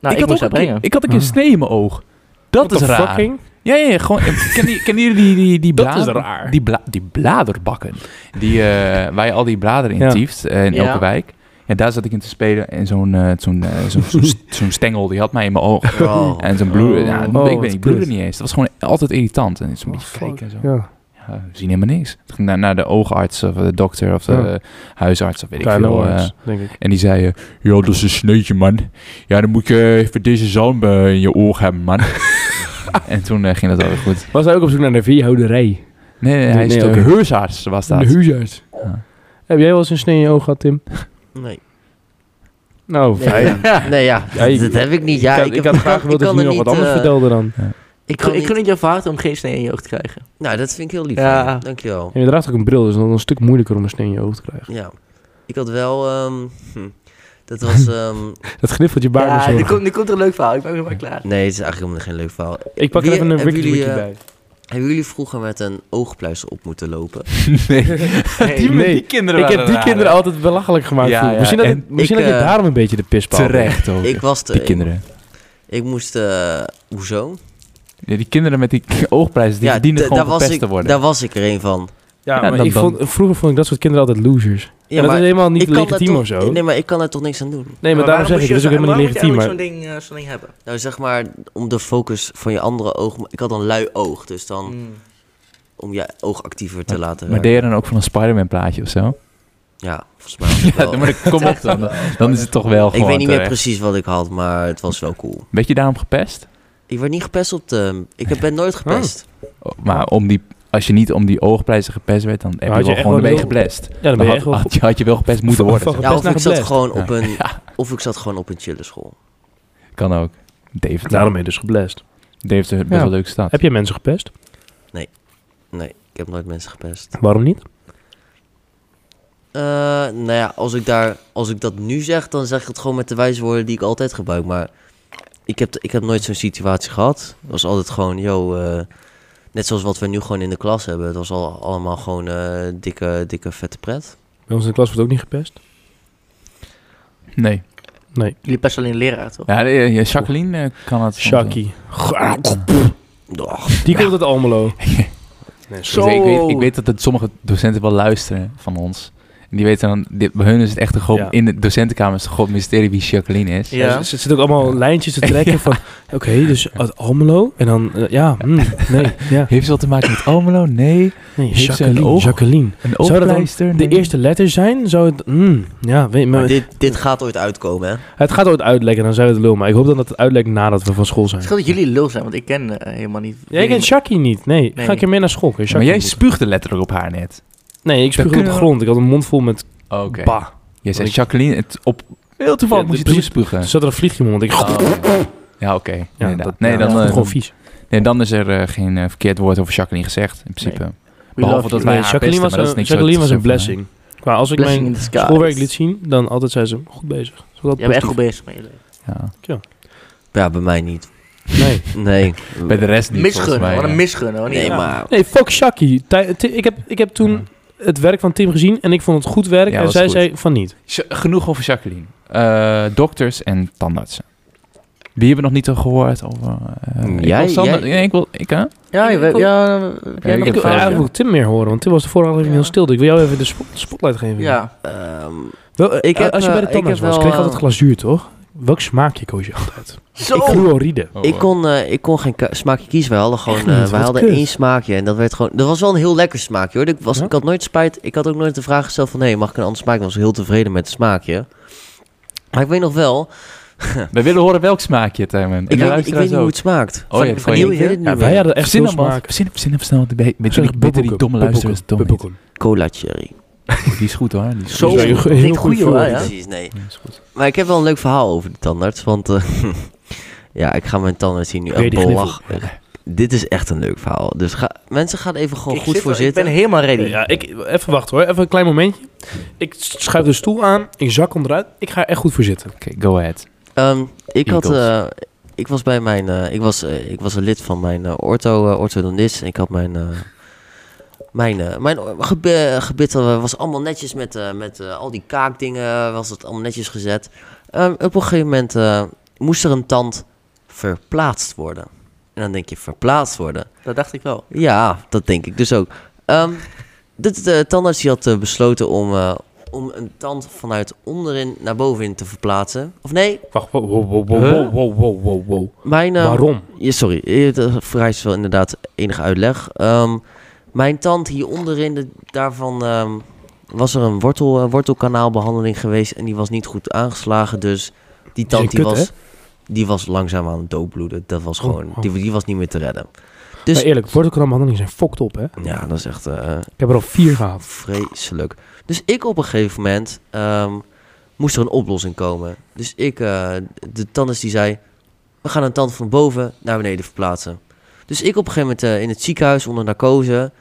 Nou, ik, moest haar
ook een keer-
brengen.
ik had een keer
Ah.
snee in mijn oog. Dat
What
is
the
raar.
fucking?
Ja, ja, ja, gewoon. Ken je, ken je die, die, die
Dat is
blader-
raar.
Die, bla- die bladerbakken. Die, eh, waar je al die bladeren in
Ja.
tieft eh, in
Ja.
elke wijk. Ja, daar zat ik in te spelen en zo'n eh, zo'n eh, zo'n zo'n st- zo'n stengel die had mij in mijn oog.
Oh.
En zo'n bloed.
Oh.
ja, ik
Oh,
weet
wat
niet, ik bloedde
kut.
niet eens. Dat was gewoon altijd irritant. En zo'n
Oh,
beetje
fuck.
kijken en zo.
Ja.
Ja, we Eh, zien helemaal niks. Ik ging naar, naar de oogarts of de dokter of de
Ja.
eh, huisarts of weet ik
Kleine
veel. eh,
oortjes, denk ik.
en die zei, eh, ja, dat is een sneetje, man. Ja, dan moet je even deze zalm eh, in je oor hebben, man. en toen eh, ging dat alweer goed.
Was hij ook op zoek naar de veehouderij?
Nee, nee, hij is
nee,
de
oké.
huisarts, was dat.
huurarts.
Ja.
Heb jij wel eens een snee in je oog gehad, Tim?
Nee.
Nou,
Nee,
fijn.
ja. nee, ja.
Ja, je-
Dat heb ik niet. Ja,
ik, had- ik
heb-
had graag gewild
ik
dat je
kan
nu nog
er
wat
niet,
anders
eh,
vertelde dan.
Ik
Ik, gun-
kan
ik
niet...
gun het jou van harte om geen snee in je oog te krijgen.
Nou, dat vind ik heel lief.
Ja.
van je. Dankjewel.
En je draagt ook een bril, dus dan is het een stuk moeilijker om een snee in je oog te krijgen.
Ja. Ik had wel... ehm, hm, dat was... ehm,
Dat gniffelt je baard.
Ja,
zo.
nu komt, nu komt er een leuk verhaal. Ik ben helemaal klaar.
nee, het is eigenlijk helemaal geen leuk verhaal.
Ik pak er
Wie-
even een
hebben
wiki
jullie,
wiki
eh,
bij.
Hebben jullie vroeger met een oogpluister op moeten lopen?
Nee.
Nee.
Nee,
kinderen
Ik heb die kinderen altijd belachelijk gemaakt.
Ja,
vroeger.
ja,
misschien dat,
en
ik, misschien
ik,
dat je
eh,
daarom een beetje de pispaal bent.
Terecht ook.
ik was te...
die
ik-
kinderen.
Ik moest... eh, hoezo?
Ja, die kinderen met die oogprijzen, die verdienen
d-
gewoon
was
gepest
ik,
te worden.
daar was ik er een van.
Ja,
Ja,
maar
dan-
ik
dan-
vond, vroeger vond ik dat soort kinderen altijd losers.
Ja,
en dat
maar
is helemaal
ik
niet
kan daar
legitiem
toch-
of zo.
Nee, maar ik kan er toch niks aan doen.
Nee, maar
waarom
daarom zeg
moest
ik,
je
dat is ook helemaal niet legitiem.
Waarom moet
Maar
je eigenlijk zo'n ding, eh, zo'n ding hebben?
Nou, zeg maar, om de focus van je andere oog... Ik had een lui oog, dus dan...
Mm.
Om je oog actiever te laten
Maar
werken.
deed je dan ook van een Spider-Man plaatje of zo?
Ja, volgens mij was het wel.
Ja, maar kom op dan. Dan is het toch wel gewoon
Ik weet niet meer
terecht.
precies wat ik had, maar het was wel cool.
Werd je daarom gepest?
Ik werd niet gepest op de... Ik ben nooit gepest.
Oh, Maar om die, als je niet om die oogprijzen gepest werd, dan heb
had
je
je
wel
echt
gewoon
wel
mee
heel-
geblest.
ja, dan
Dan
ben je
had,
echt wel
had, je, had je wel gepest moeten worden.
Van
zeg.
Ja,
gepest
of
naar
ik zat
gepest.
gewoon op
Ja.
een... Of ik zat gewoon op een chille school.
Kan ook. David.
Daarom ben je dus geblest.
Die heeft een best
Ja.
wel leuke stad.
Heb jij mensen gepest?
Nee, ik heb nooit mensen gepest.
Waarom niet?
Eh, nou ja, als ik, daar, als ik dat nu zeg, dan zeg ik het gewoon met de wijze woorden die ik altijd gebruik. Maar ik heb, ik heb nooit zo'n situatie gehad. Het was altijd gewoon, yo... eh, net zoals wat we nu gewoon in de klas hebben. Het was al, allemaal gewoon eh, dikke, dikke, vette pret.
Bij ons in de klas wordt ook niet gepest.
Nee.
Nee.
Jullie best alleen leraar, toch?
Ja, de- ja, Jacqueline eh, kan het. soms wel.
Shaki.
Och,
Die komt uit Almelo. Nee,
Ik weet- Ik, weet, ik weet dat het sommige docenten wel luisteren van ons. En die weten dan, dit, bij hun is het echt een groot,
Ja.
in de docentenkamer is het een groot mysterie wie Jacqueline is.
Ja.
Ja. Ze, ze zitten ook allemaal lijntjes te trekken van... Oké, dus uit Almelo. En dan... eh, ja, mm, nee. Ja,
Heeft ze wat te maken met Almelo? Nee.
nee
Heeft ze een
Jacqueline.
oog?
Jacqueline.
Een
Zou dat dan
oogpleister?
De
Nee.
eerste letter zijn? Zou het... mm, ja, weet, maar,
maar dit, dit gaat ooit uitkomen, hè?
het gaat ooit uitlekken. Dan zijn we het lul. Maar ik hoop dan dat het uitlekt nadat we van school zijn.
Het scheelt dat jullie lul zijn, want ik ken eh, helemaal niet.
Jij kent Shaki niet. Nee.
Nee.
Ga ik keer mee naar school. kun je
maar
Shaki
jij
ontmoeten.
spuugde letterlijk op haar net.
Nee, ik spuug op de
kunnen we-
grond. Ik had een mond vol met
Oké.
bah.
Jij zei
Want ik-
Jacqueline, het op heel toevallig
Ja,
moest je
precies.
toespugen.
Er zat er een vliegje in mijn mond. Ik...
Ja, oké.
Ja,
inderdaad.
dat-
Oh, nee,
ja,
dan,
dat is
eh,
gewoon vies.
nee, dan is er eh, geen eh, verkeerd woord over Jacqueline gezegd, in principe. Behalve dat
wij.
wij
Nee,
haar
Jacqueline
pesten,
was
maar dat is
een,
niks
Jacqueline was een
positiefs over,
blessing. Maar als ik
Blessing in
mijn
the sky.
schoolwerk liet zien, dan altijd zei ze goed bezig. Dus dat
Jij bent echt goed
positief.
bezig met jullie.
Ja.
Ja, bij mij niet.
Nee.
Nee.
Bij de rest niet, volgens
Misgunnen,
mij.
wat
ja.
een misgunnen. hoor. Niet-
Nee,
Ja.
maar...
nee, fuck Shaki. Ti- Ti- Ik heb, ik heb toen het werk van Tim gezien en ik vond het goed werk.
Ja,
en
was
zij
goed.
zei van niet.
Ja, Genoeg over Jacqueline. Eh, dokters en tandartsen. Wie hebben we nog niet gehoord over... eh, ik
Mm, Jij-
wil Sander-
jij- Oh,
nee, ik wil... Ik, hè?
Ja, je weet- ja, eh, heb jij
ik
nog-
Ik
heb
wil
vijf,
eigenlijk
ja.
ook Tim meer horen, want Tim was de vorige aflevering
Ja.
heel stil. Dus ik wil jou even de spo- spotlight geven.
Ja,
ehm,
Wel, eh,
Ik heb,
als je bij de
eh, ik
tandarts
heb
was,
wel,
kreeg je altijd
eh,
glazuur, toch? Welk smaakje koos je altijd?
zo!
Fluoride.
Oh,
ik, kon, eh, ik kon geen ka- smaakje kiezen. Wij hadden gewoon...
Echt niet,
eh, wij
wat
hadden
kut.
één smaakje. En dat werd gewoon... Dat was wel een heel lekker smaakje, hoor. Ik, was,
Ja?
ik had nooit spijt. Ik had ook nooit de vraag gesteld van... Hé, hey, mag ik een ander smaakje? Ik was heel tevreden met het smaakje. Maar ik weet nog wel...
We willen horen welk smaakje, Tijmen. En
Ik,
de
weet, ik
luisteraars
weet niet hoe
ook.
het smaakt.
Oh ja,
Van,
dat vond je
ik
niet.
weet het niet
Ja, wij
meer.
hadden echt
Verzin
veel
hem al.
smaak.
Verzin hem- verzin hem snel. want ik weet- Met die- met die domme luisteraars. dom niet.
Cola cherry.
Die is goed hoor. Die is
Zo,
goed.
Heel
heel
goed
goed, goeie
voor
hoor,
je.
ja.
Precies, nee.
Die is goed.
Maar ik heb wel een leuk verhaal over de tandarts. Want eh, ja, ik ga mijn tandarts hier nu
Weer
echt
die knuffel.
belachelijk. Dit is echt een leuk verhaal. Dus ga, mensen gaan even gewoon
Ik
goed
zit
voor
wel-
zitten.
Ik ben helemaal ready.
Ja, ik, even wachten hoor. Even een klein momentje. Ik schuif de stoel aan. Ik zak onderuit. Ik ga er echt goed voor zitten.
Oké, go ahead.
Ehm, ik, had,
Eagles.
eh, ik was bij mijn, eh, ik, was, eh, ik was een lid van mijn eh, ortho, eh, orthodontist en ik had mijn, eh, mijn, eh, mijn o- gebe- eh, gebit eh, was allemaal netjes met, eh, met eh, al die kaakdingen, eh, was het allemaal netjes gezet. Ehm, op een gegeven moment eh, moest er een tand verplaatst worden. En dan denk je, verplaatst worden?
Dat dacht ik wel.
Ja, dat denk ik dus ook. Ehm, de, de, de tandarts die had eh, besloten om, eh, om een tand vanuit onderin naar bovenin te verplaatsen. Of nee,
Wacht, wow, wow, wow, wow, wow, wow, wow, wow, wow.
mijn... eh,
Waarom?
Ja, sorry, eh, dat vereist wel inderdaad enige uitleg. Ehm, mijn tand hier onderin, de- daarvan ehm, was er een wortel, eh, wortelkanaalbehandeling geweest en die was niet goed aangeslagen. Dus
Dat
die
is
tand
een
die
kut,
was, die was langzaam aan het doodbloeden. Dat was
Oh,
gewoon,
oh.
Die, die was niet meer te redden.
Maar
Dus
eerlijk, wortelkrambehandelingen zijn fokt op, hè?
ja, dat is echt... eh,
Ik heb er al vier gehad.
Vreselijk. Dus ik op een gegeven moment ehm, moest er een oplossing komen. Dus ik, eh, de tandarts die zei, we gaan een tand van boven naar beneden verplaatsen. Dus ik op een gegeven moment eh, in het ziekenhuis onder narcose.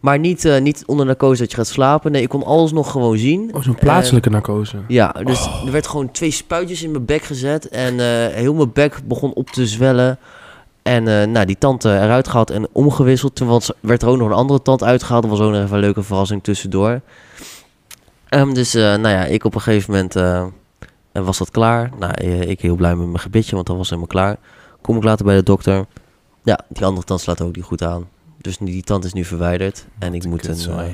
Maar niet, eh, niet onder narcose dat je gaat slapen. Nee, ik kon alles nog gewoon zien.
Oh, zo'n plaatselijke narcose.
Ja, dus er werd gewoon twee spuitjes in mijn bek gezet. En eh, heel mijn bek begon op te zwellen. En eh, nou, die tand eh, eruit gehaald en omgewisseld. Toen was, werd er ook nog een andere tand uitgehaald. Dat was ook nog even een leuke verrassing tussendoor. Ehm, dus eh, nou ja, ik op een gegeven moment eh, eh, was dat klaar. Nou, eh, ik heel blij met mijn gebitje, want dat was helemaal klaar. Kom ik later bij de dokter. Ja, die andere tand slaat ook niet goed aan. Dus nu- die tand is nu verwijderd. En ik
een
moet een,
kutzooi.
eh,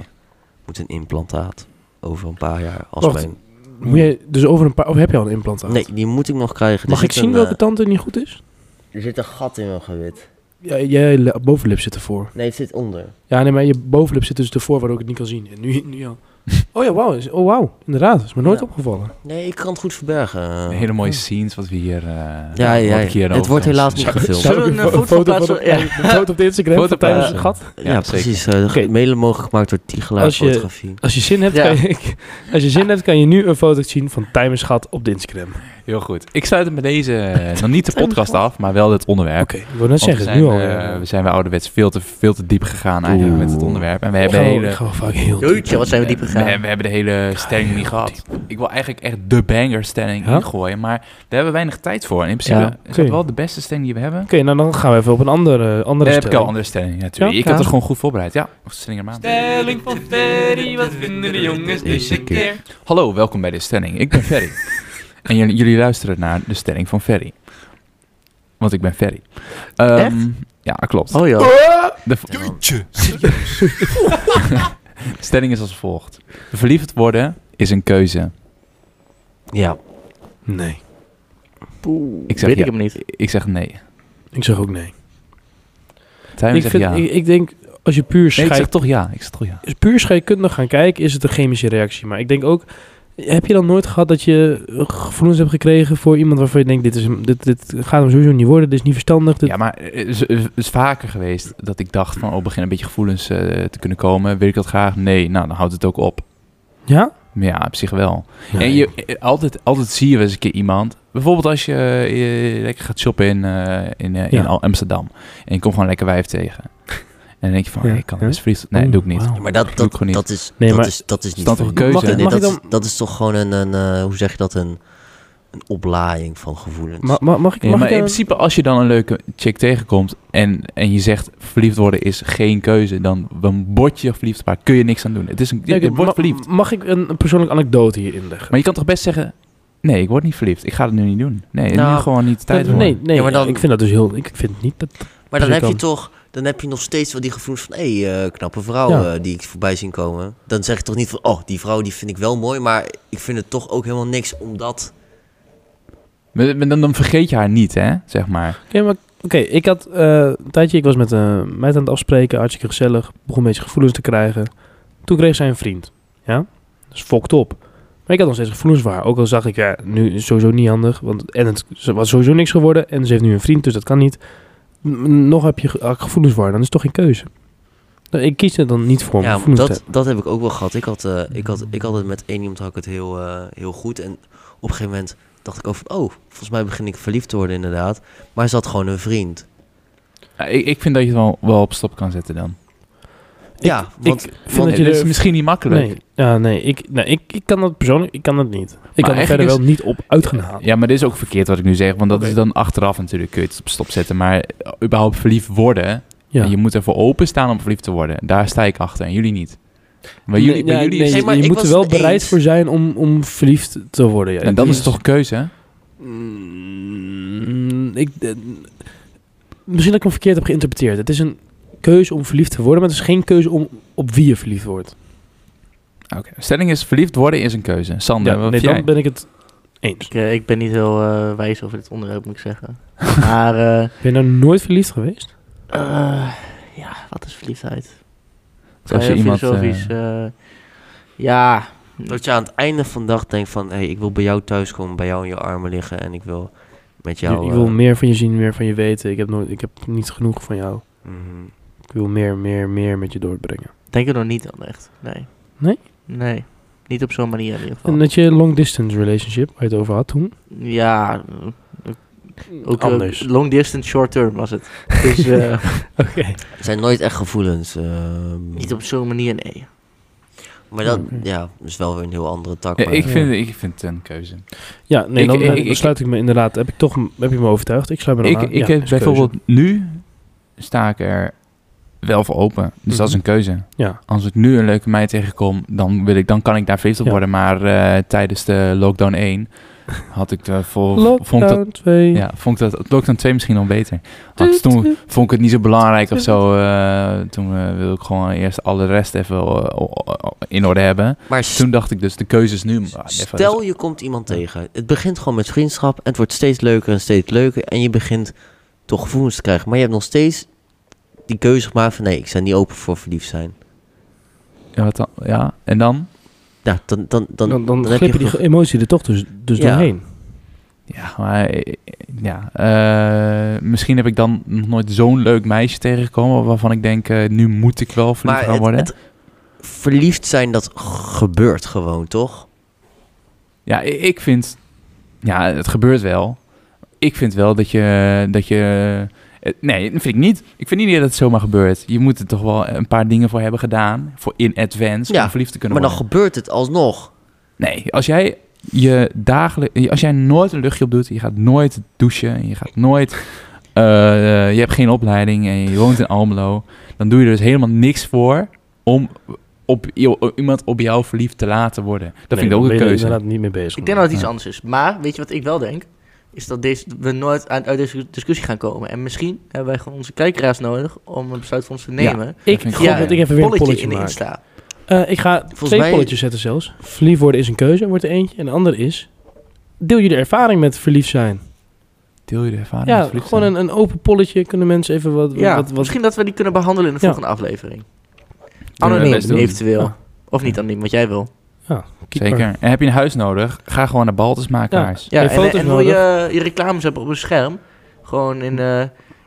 moet een implantaat over een paar jaar. Als
Wacht,
mijn
Moet je dus over een paar... Of heb je al een implantaat?
Nee, die moet ik nog krijgen. Er
Mag ik
zit
zien
een,
welke
eh,
tand er niet goed is?
Er zit een gat in mijn gewit.
Ja, jij le- bovenlip zit ervoor.
Nee, het zit onder.
Ja, nee, maar je bovenlip zit dus ervoor, waardoor ik het niet kan zien. En nu, nu al. Oh ja, wauw. is- Oh, wauw. Inderdaad. is me nooit
Ja.
opgevallen.
Nee, ik kan het goed verbergen.
Hele mooie
Ja.
scenes wat we hier... eh,
ja,
wat
ja.
ik hier
Het wordt
over-
helaas niet gefilmd.
Zullen we een,
Zou ik
eh, foto plaatsen?
op, ja, een foto op de Instagram
Foto
van tijdens
plaatsen.
het gat?
Ja,
Ja, zeker.
precies. eh,
Oké.
Mede mogelijk gemaakt door Tigelaar
Als je-
Fotografie.
Als je zin hebt,
Ja.
kan je, als je, zin hebt, kan je nu een foto zien van Timers gat op de Instagram. Oké,
Heel goed. Ik sluit hem bij deze, eh, nog niet de podcast af, maar wel het
ik
onderwerp.
wil net
Want we
zeggen,
zijn,
nu al.
eh,
ja.
we zijn bij ouderwets veel te, veel te diep gegaan eigenlijk
Oeh.
met het onderwerp. En we
Oh, Ik
hebben,
ga wel-
hele,
ik ga wel vaak heel diep.
Jeetje, wat zijn we diep
we, hebben-
gegaan.
we hebben de hele stelling niet gehad. Ik wil eigenlijk echt de banger stelling
Ja?
ingooien, maar daar hebben we weinig tijd voor. En in principe
Ja,
is
oké.
dat wel de beste stelling die we hebben.
Oké, nou dan gaan we even op een andere, andere
Daar heb ik al
stelling.
andere stelling natuurlijk.
Ja?
ik heb
Ja.
het gewoon goed voorbereid. Ja, Nog stelling eraan.
Stelling van Ferry, wat vinden de jongens deze keer?
Hallo, welkom bij de stelling. Ik ben Ferry. en jullie, jullie luisteren naar de stelling van Ferry. Want ik ben Ferry. Ehm,
Echt?
Ja, klopt.
Oh joh.
De v- De stelling is als volgt. Verliefd worden is een keuze.
Ja.
Nee,
Ik zeg
Weet
ja.
ik hem niet.
Ik zeg nee.
ik zeg ook nee.
Tuin
Ik,
zegt
vind,
ja.
ik, ik denk, als je puur
nee, ik
scheidt
zeg toch ja. Ik zeg toch ja.
Als je puur scheikundig gaan kijken, is het een chemische reactie. Maar ik denk ook, heb je dan nooit gehad dat je eh, gevoelens hebt gekregen voor iemand waarvan je denkt, dit, is, hem- dit, dit gaat hem sowieso niet worden, dit is niet verstandig. Dit...
Ja, maar het is, het is vaker geweest dat ik dacht van... Oh, begin een beetje gevoelens eh, te kunnen komen. Wil ik dat graag? Nee. Nou, dan houdt het ook op.
Ja?
Maar ja, op zich wel.
Ja,
En je, eh, altijd, altijd zie je wel eens een keer iemand. Bijvoorbeeld als je, eh, lekker gaat shoppen in, eh, in, eh,
Ja.
in Al- Amsterdam. En je komt gewoon lekker wijf tegen. En dan denk je van,
Ja.
hey, ik kan best verliefd. Nee,
Oh,
doe ik niet.
wauw.
Ja, Maar dat,
Doe ik
dat,
gewoon niet.
dat, is,
Nee,
dat,
maar-
is, dat is niet
Is dat
voor
toch
je.
een keuze?
Mag ik-
Nee,
mag
dat,
ik
is, dat is toch gewoon een, een eh, hoe zeg je dat, een, een oplaaiing van gevoelens.
Ma- ma- mag ik,
Ja,
mag
maar
ik
in
dan-
principe, als je dan een leuke chick tegenkomt en, en je zegt verliefd worden is geen keuze, dan, dan word je verliefd, maar kun je niks aan doen. Het is een, je,
Oké,
je wordt
ma-
verliefd.
Mag ik een, een persoonlijke anekdote hier inleggen?
Maar je kan toch best zeggen, nee, ik word niet verliefd. Ik ga het nu niet doen. Nee,
Nou,
nu gewoon niet tijd
Nee,
voor.
nee, nee
Ja, maar dan-
ik vind dat dus heel... Ik vind niet dat...
maar dan
je
heb je
kan-
toch, dan heb je nog steeds wel die gevoelens van, hé, hey, eh, knappe vrouw
Ja.
eh, die ik voorbij zien komen. Dan zeg je toch niet van, oh, die vrouw die vind ik wel mooi, maar ik vind het toch ook helemaal niks omdat...
Maar- maar Dan, dan vergeet je haar niet, hè, zeg maar.
Oké, maar oké, ik had eh, een tijdje, ik was met een meid aan het afspreken, hartstikke gezellig, begon een beetje gevoelens te krijgen. Toen kreeg zij een vriend, ja? Dus fokt op. Maar ik had nog steeds gevoelens voor haar, ook al zag ik, ja, nu is het sowieso niet handig, want en het ze was sowieso niks geworden en ze heeft nu een vriend, dus dat kan niet. M- Nog heb je ge- ah, gevoelens voor haar, dan is het toch geen keuze. Nou, Ik kies er dan niet voor om
Ja,
gevoelens te
dat, dat heb ik ook wel gehad. Ik had, eh, ik had, ik had het met één iemand had ik het heel, eh, heel goed. En op een gegeven moment dacht ik over, oh, volgens mij begin ik verliefd te worden inderdaad. Maar ze had gewoon een vriend.
Nou, Ja, Ik, ik vind dat je het wel, wel op stop kan zetten dan.
hebben.
ja, want
ik vind
want-
dat je
dat is
er-
misschien niet makkelijk.
Nee, ja, nee, ik, nee ik, ik kan dat persoonlijk ik kan dat niet. Ik kan er
eigenlijk
verder
is-
wel niet op uitgehaald.
Ja, maar dit is ook verkeerd wat ik nu zeg. Want dat
Oké.
is dan achteraf natuurlijk kun je het op stop zetten. Maar eh, überhaupt verliefd worden.
Ja.
Je moet ervoor openstaan om verliefd te worden. Daar sta ik achter. En jullie niet. Maar jullie,
Nee,
bij
ja,
jullie
nee,
is-
Hey, maar
je
ik
moet er
was
wel
het
bereid
eens.
voor zijn om, om verliefd te worden. Ja.
en dan is het toch een keuze?
Mm, ik, eh, misschien dat ik hem verkeerd heb geïnterpreteerd. Het is een keuze om verliefd te worden, maar het is geen keuze om op wie je verliefd wordt.
Oké. Stelling is, verliefd worden is een keuze. Sander,
ja,
wat
nee,
vind
dan
jij?
ben ik het eens.
Ik, eh, ik ben niet heel eh, wijs over dit onderwerp, moet ik zeggen. Maar, eh,
Ben je nou nooit verliefd geweest?
eh, ja, wat is verliefdheid?
Als je
Eh,
iemand,
filosofisch,
eh,
eh, ja,
dat je aan het einde van de dag denkt van... hey, ik wil bij jou thuis komen, bij jou in je armen liggen... en ik wil met jou...
Je- ik wil
eh,
meer van je zien, meer van je weten. Ik heb, nooit, ik heb niet genoeg van jou.
mhm.
Ik wil meer, meer, meer met je doorbrengen.
Denk er nog niet aan, echt. Nee.
Nee?
Nee. Niet op zo'n manier in ieder
Oh.
geval.
En dat je long distance relationship, waar je het over had toen.
Ja, eh, ook eh,
Anders.
long distance, short term was het. Dus eh,
Oké.
Het zijn nooit echt gevoelens. ehm,
niet op zo'n manier, nee.
Maar dat
Oké.
ja, is wel weer een heel andere tak.
eh,
Ja,
maar-
ik, vind, ik vind het een keuze.
Ja, nee,
Ik-
dan, eh,
ik-
dan
ik-
sluit ik me inderdaad. Heb ik toch heb je me overtuigd? Ik sluit me dan
Ik,
aan.
ik
Ja,
heb
is keuze.
bijvoorbeeld nu sta ik er wel voor open. Dus dat is een keuze.
Mhm. Ja.
Als ik nu een leuke meid tegenkom, dan, wil ik, dan kan ik daar verliefd op
Ja.
worden. Maar eh, tijdens de lockdown 1 had ik de vol, vond ik dat,
Lockdown 2.
ja, vond ik dat lockdown 2 misschien al beter. Had ik toen vond ik het niet zo belangrijk of zo. eh, toen eh, wilde ik gewoon eerst alle rest even eh, o- o- in orde hebben.
maar s-
Toen dacht ik dus de keuze is nu. Ah, even-
stel je komt iemand tegen. Het begint gewoon met vriendschap en het wordt steeds leuker en steeds leuker. En je begint toch gevoelens te krijgen. Maar je hebt nog steeds die keuze gemaakt van nee, ik sta niet open voor verliefd zijn.
ja, wat dan? ja, en dan?
Ja, dan, dan, dan,
Dan, dan,
dan
glip je die
ge-
ge- emotie er toch dus, dus
Ja.
doorheen.
Ja, maar eh, ja, eh, misschien heb ik dan nog nooit zo'n leuk meisje tegengekomen waarvan ik denk, eh, nu moet ik wel verliefd
maar
gaan
het,
worden.
het verliefd zijn, dat gebeurt gewoon, toch?
Ja, i- ik vind, ja, het gebeurt wel. Ik vind wel dat je, dat je, eh, nee, dat vind ik niet. Ik vind niet dat het zomaar gebeurt. Je moet er toch wel een paar dingen voor hebben gedaan, voor in advance,
Ja,
om verliefd te kunnen
Maar dan
worden.
gebeurt het alsnog.
Nee, als jij je dagelijks, als jij nooit een luchtje op doet, je gaat nooit douchen, je gaat nooit, eh, je hebt geen opleiding en je woont in Almelo, dan doe je er dus helemaal niks voor om op i- iemand op jou verliefd te laten worden. Dat vind ik ook een
Ben je er
keuze.
inderdaad niet mee bezig.
Ik denk dat het iets
Ja.
anders is. Maar, weet je wat ik wel denk? Is dat deze, we nooit aan- uit deze discussie gaan komen. En misschien hebben wij gewoon onze kijkeraars nodig om een besluit voor ons te
Ja.
nemen.
Ik
vind ik
gok
ook.
dat ik even weer een
polletje,
polletje
in de
maak.
Insta.
Eh, ik ga twee
mij-
polletjes zetten zelfs. Verliefd worden is een keuze, wordt er eentje. En de ander is, deel je de ervaring met verliefd zijn.
Deel je de ervaring met
ja,
verliefd
gewoon
zijn?
een, een open polletje. Kunnen mensen even wat...
Ja,
wat, wat
misschien dat we die kunnen behandelen in de
Ja.
volgende aflevering.
we
Anoniem,
best doen.
eventueel.
Ja.
Of niet anoniem, wat jij wil.
keeper.
Zeker. En heb je een huis nodig, ga gewoon naar Baltesmakelaars.
Ja,
Je
en, eh,
foto's
en wil je je reclames hebben op een scherm? Gewoon in, eh,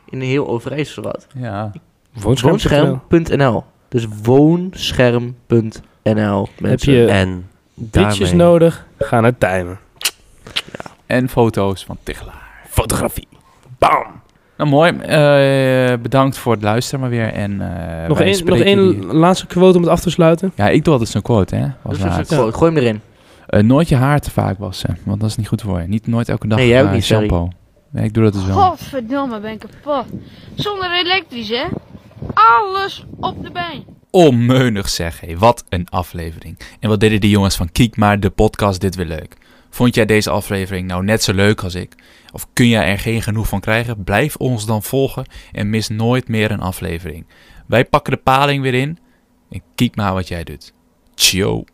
in heel Overijssel wat.
Ja.
Woonscherm.
Woonscherm.nl. Dus woonscherm.nl.
Heb
Mensen.
je
En
ditjes
daarmee...
nodig, ga naar Tijmen.
En foto's van Tichelaar.
Fotografie. Bam!
Nou mooi, Eh, bedankt voor het luisteren maar weer. En, eh,
nog
wij
één nog
spreken
één Dus
jullie-
laatste quote om het af te sluiten.
Ja, ik doe altijd zo'n quote, hè.
Dus Dat
als
is even een
laatste.
quote. Gooi hem erin.
Eh, nooit je haar te vaak wassen, want dat is niet goed voor je. Niet nooit elke dag
Nee, jij ook
eh,
niet, sorry.
shampoo. Nee, ik doe dat dus wel.
Godverdomme, ben ik kapot. Zonder elektrisch, hè? Alles op de been.
Onmeunig zeg, hé. Wat een aflevering. En wat deden die jongens van Kiek maar de podcast dit weer leuk. Vond jij deze aflevering nou net zo leuk als ik? Of kun jij er geen genoeg van krijgen? Blijf ons dan volgen en mis nooit meer een aflevering. Wij pakken de paling weer in en kiek maar wat jij doet. Ciao.